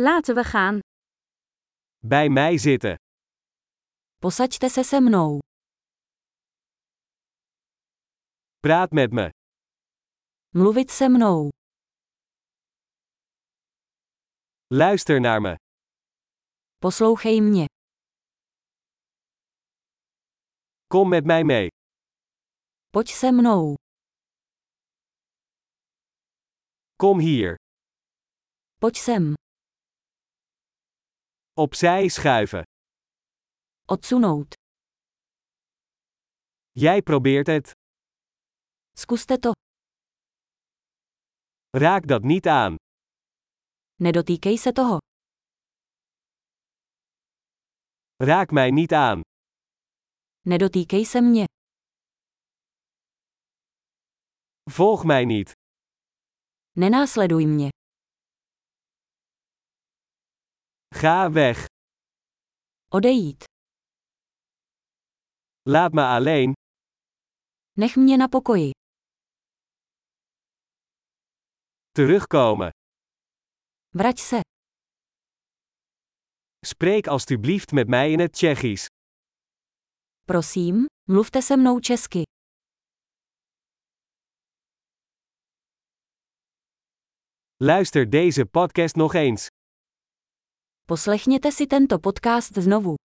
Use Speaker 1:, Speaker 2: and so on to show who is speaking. Speaker 1: Laten we gaan.
Speaker 2: Bij mij zitten.
Speaker 3: Posaďte se se mnou.
Speaker 2: Praat met me.
Speaker 3: Mluvit se mnou.
Speaker 2: Luister naar me.
Speaker 3: Poslouchej mě.
Speaker 2: Kom met mij mee.
Speaker 3: Pojď se mnou.
Speaker 2: Kom hier.
Speaker 3: Pojď sem.
Speaker 2: Opzij schuiven.
Speaker 3: Odsunout.
Speaker 2: Jij probeert het.
Speaker 3: Zkuste to.
Speaker 2: Raak dat niet aan.
Speaker 3: Nedotýkej se toho.
Speaker 2: Raak mij niet aan.
Speaker 3: Nedotýkej se mě.
Speaker 2: Volg mij niet.
Speaker 3: Nenásleduj mě.
Speaker 2: Ga weg.
Speaker 3: Odejít.
Speaker 2: Laat me alleen.
Speaker 3: Nech mě na pokoji.
Speaker 2: Terugkomen.
Speaker 3: Vrať se.
Speaker 2: Spreek alstublieft met mij in het Tsjechisch.
Speaker 3: Prosím, mluvte se mnou česky.
Speaker 2: Luister deze podcast nog eens.
Speaker 3: Poslechněte si tento podcast znovu.